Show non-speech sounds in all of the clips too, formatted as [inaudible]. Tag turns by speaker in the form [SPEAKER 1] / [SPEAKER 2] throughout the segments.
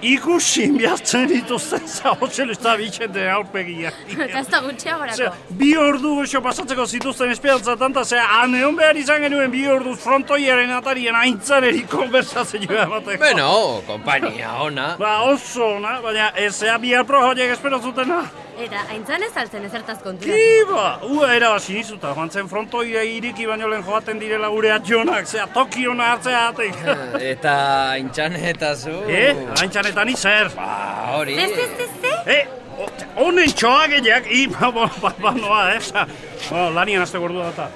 [SPEAKER 1] Ikusi miatzen dituzten zahotzen ez da bitxete aurpegia.
[SPEAKER 2] [laughs] Eta ez da gutxiagorako.
[SPEAKER 1] Zer, bi ordu oso pasatzeko zituzten esperantzatan, eta zer, aneon behar izan genuen bi orduz frontoiaren atarien aintzan eri konversazioa bateko.
[SPEAKER 3] Bueno, kompania ona.
[SPEAKER 1] Ba, oso, na, baina ez ea bihar projoiek espero zutena.
[SPEAKER 2] Eta aintzan ez altzen ezertaz konturatu.
[SPEAKER 1] Iba, ua era sinizuta, joan zen frontoia iriki baino lehen joaten direla gure atjonak, zea Tokiona atzea atek.
[SPEAKER 3] Eta intxan eta zu...
[SPEAKER 1] eh, aintzanetan izer.
[SPEAKER 3] Ba, hori...
[SPEAKER 2] Ez, ez, ez, ez.
[SPEAKER 1] Eh, o- honen txoageak, iba, ba, ba, ba, noa, eh, sa. Bueno, lanian azte gordu data.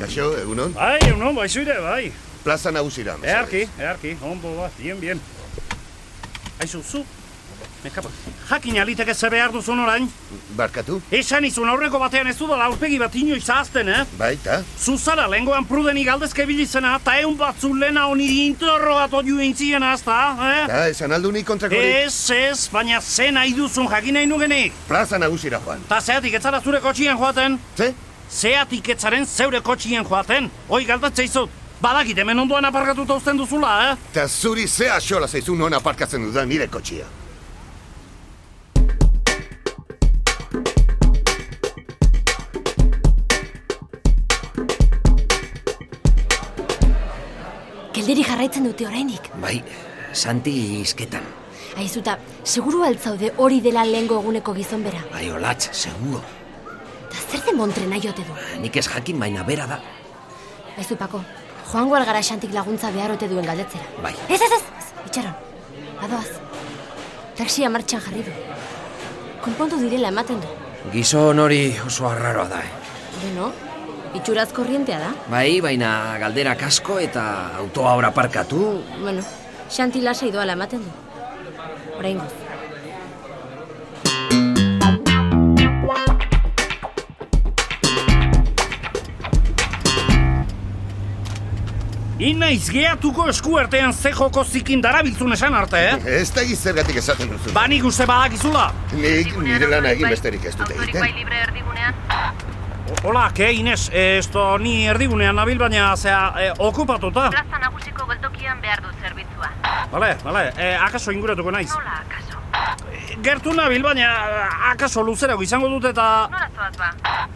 [SPEAKER 4] Kaixo, egunon?
[SPEAKER 1] Bai, no, bai, zuire, bai.
[SPEAKER 4] Plaza nagusira. mesedez.
[SPEAKER 1] Earki, earki, ondo bat, ba, bien, bien. Aizu, zu? Mekapa. Jakin aliteke ze behar duzun orain?
[SPEAKER 4] Barkatu?
[SPEAKER 1] Esan izun aurreko batean ez dudala aurpegi bat inoiz ahazten, eh?
[SPEAKER 4] Baita?
[SPEAKER 1] Zuzara, lengoan prudeni galdezke bilizena, eta eun batzu lehena honi interrogatu ju intzien azta, eh?
[SPEAKER 4] Ta, esan aldu ni kontrakorik?
[SPEAKER 1] Ez, ez, baina ze nahi duzun jakin nahi nugenik.
[SPEAKER 4] Plaza nagusira joan.
[SPEAKER 1] Ta zeatik etzara zure kotxien joaten?
[SPEAKER 4] Ze?
[SPEAKER 1] Zeatik etzaren zeure kotxien joaten? Hoi galdatze izut, badakit hemen ondoan aparkatuta uzten duzula, eh?
[SPEAKER 4] Ta zuri ze axola zaizun hona parkatzen dudan nire kotxia.
[SPEAKER 2] Gelderi jarraitzen dute orainik.
[SPEAKER 3] Bai, Santi izketan.
[SPEAKER 2] Aizuta, seguru altzaude hori dela lehengo eguneko gizon bera.
[SPEAKER 3] Bai, olatz, seguro.
[SPEAKER 2] Eta zer den montre nahi ote du?
[SPEAKER 3] Nik ez jakin baina bera da.
[SPEAKER 2] Aizu, Pako, joango algara xantik laguntza behar ote duen galdetzera.
[SPEAKER 3] Bai.
[SPEAKER 2] Ez, ez, ez, ez, itxaron. Adoaz. Taxia martxan jarri du. Konpontu direla ematen du.
[SPEAKER 3] Gizon hori oso arraroa da. Eh?
[SPEAKER 2] Beno, itxuraz korrientea da.
[SPEAKER 3] Bai, baina galdera kasko eta autoa ora parkatu.
[SPEAKER 2] Bueno, xanti lasai doala ematen du. Oraingo.
[SPEAKER 1] Inaiz geatuko eskuartean ze joko zikin darabiltzun esan arte, eh?
[SPEAKER 4] Ez da gizergatik esaten duzu.
[SPEAKER 1] Ba nik uste badakizula.
[SPEAKER 4] Nik nire lana egin besterik ez dut egiten.
[SPEAKER 5] bai. libre erdigunean.
[SPEAKER 1] O- Hola, ke Ines, eh, esto ni erdigunean nabil baina, zea, eh, okupatuta.
[SPEAKER 5] Plaza nagusiko geltokian behar dut zerbitzua.
[SPEAKER 1] Bale, bale, eh, akaso inguratuko naiz.
[SPEAKER 5] Nola, akaso?
[SPEAKER 1] Gertu nabil baina, eh, akaso luzerago izango dut eta...
[SPEAKER 5] Nola zoaz ba?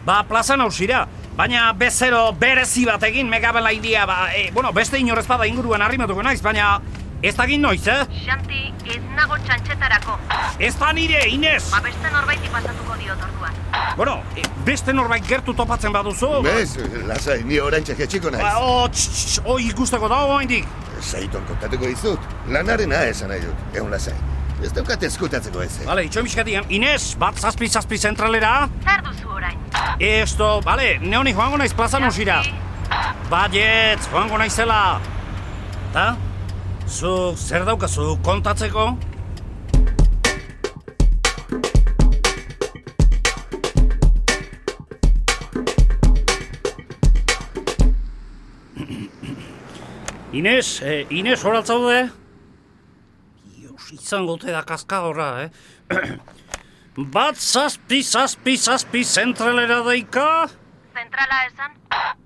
[SPEAKER 1] Ba, plazan ausira. Baina bezero berezi batekin megabela india, ba, eh, bueno, beste inorrez bada inguruan arrimatuko naiz, baina... Ez da noiz, eh?
[SPEAKER 5] Xanti, ez nago txantxetarako.
[SPEAKER 1] Ez da nire, Ines!
[SPEAKER 5] Ba beste norbaiti pasatuko diot orduan.
[SPEAKER 1] Bueno, eh, beste norbait gertu topatzen baduzu...
[SPEAKER 4] Bez, lasai, ni orain txeketxiko
[SPEAKER 1] Ba,
[SPEAKER 4] naiz.
[SPEAKER 1] o, tx, tx, o, ikusteko da oaindik.
[SPEAKER 4] Zaiton kontatuko dizut. Lanarena esan nahi dut, egun lasai. Ez daukat ezkutatzeko ez. eh?
[SPEAKER 1] Bale, itxo miskatian, Inez, bat zazpi zazpi zentralera.
[SPEAKER 5] Zer duzu orain?
[SPEAKER 1] Esto, bale, neoni joango naiz plazan usira. Baiet, joango naizela. Ta? Zu, zer daukazu kontatzeko? [clears throat] Inez, eh, Inez, horatzaude? Dios, izango te da kaskadorra, eh? [clears throat] Bat zazpi, zazpi, zazpi zentralera daika?
[SPEAKER 5] Zentrala esan?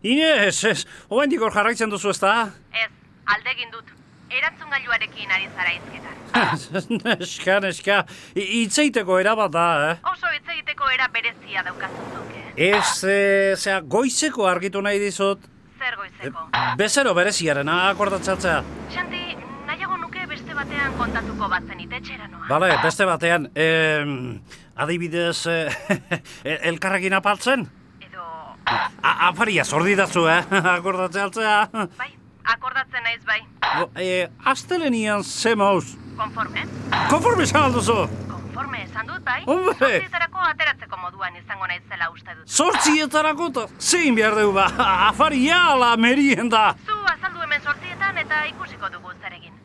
[SPEAKER 1] Inez, ez, oaindik hor jarraitzen duzu ez da?
[SPEAKER 5] Ez, aldegin dut. Erantzungailuarekin ari zara izketan.
[SPEAKER 1] neska, neska, I- itzeiteko erabat da, eh?
[SPEAKER 5] Oso hitz egiteko era berezia daukazuzuk, eh?
[SPEAKER 1] Ez, e, zera, goizeko argitu nahi dizut,
[SPEAKER 5] Zer goizeko.
[SPEAKER 1] bezero bereziaren akordatzatzea.
[SPEAKER 5] Xanti, nahiago nuke beste batean kontatuko batzen itetxera noa.
[SPEAKER 1] Bale, beste batean, em, adibidez, eh, [laughs] elkarrekin apaltzen?
[SPEAKER 5] Edo,
[SPEAKER 1] A, afaria zordidazu, eh, [laughs] akordatzatzea.
[SPEAKER 5] bai, akordatzen naiz bai.
[SPEAKER 1] Bo, e, astelenian zemauz,
[SPEAKER 5] Konforme?
[SPEAKER 1] konforme zan alduzu,
[SPEAKER 5] Konforme esan dut, bai?
[SPEAKER 1] Hombre!
[SPEAKER 5] Zortzietarako ateratzeko moduan izango naizela uste dut.
[SPEAKER 1] zortzietarako eta zein behar dugu ba, [laughs] afaria ala merienda.
[SPEAKER 5] Zu azaldu hemen sortzietan eta ikusiko dugu zaregin.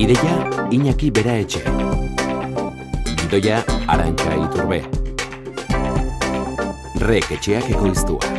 [SPEAKER 6] Ideia Iñaki Bera Etxe. Gidoia Arantxa Iturbea. Rek etxeak ekoiztua.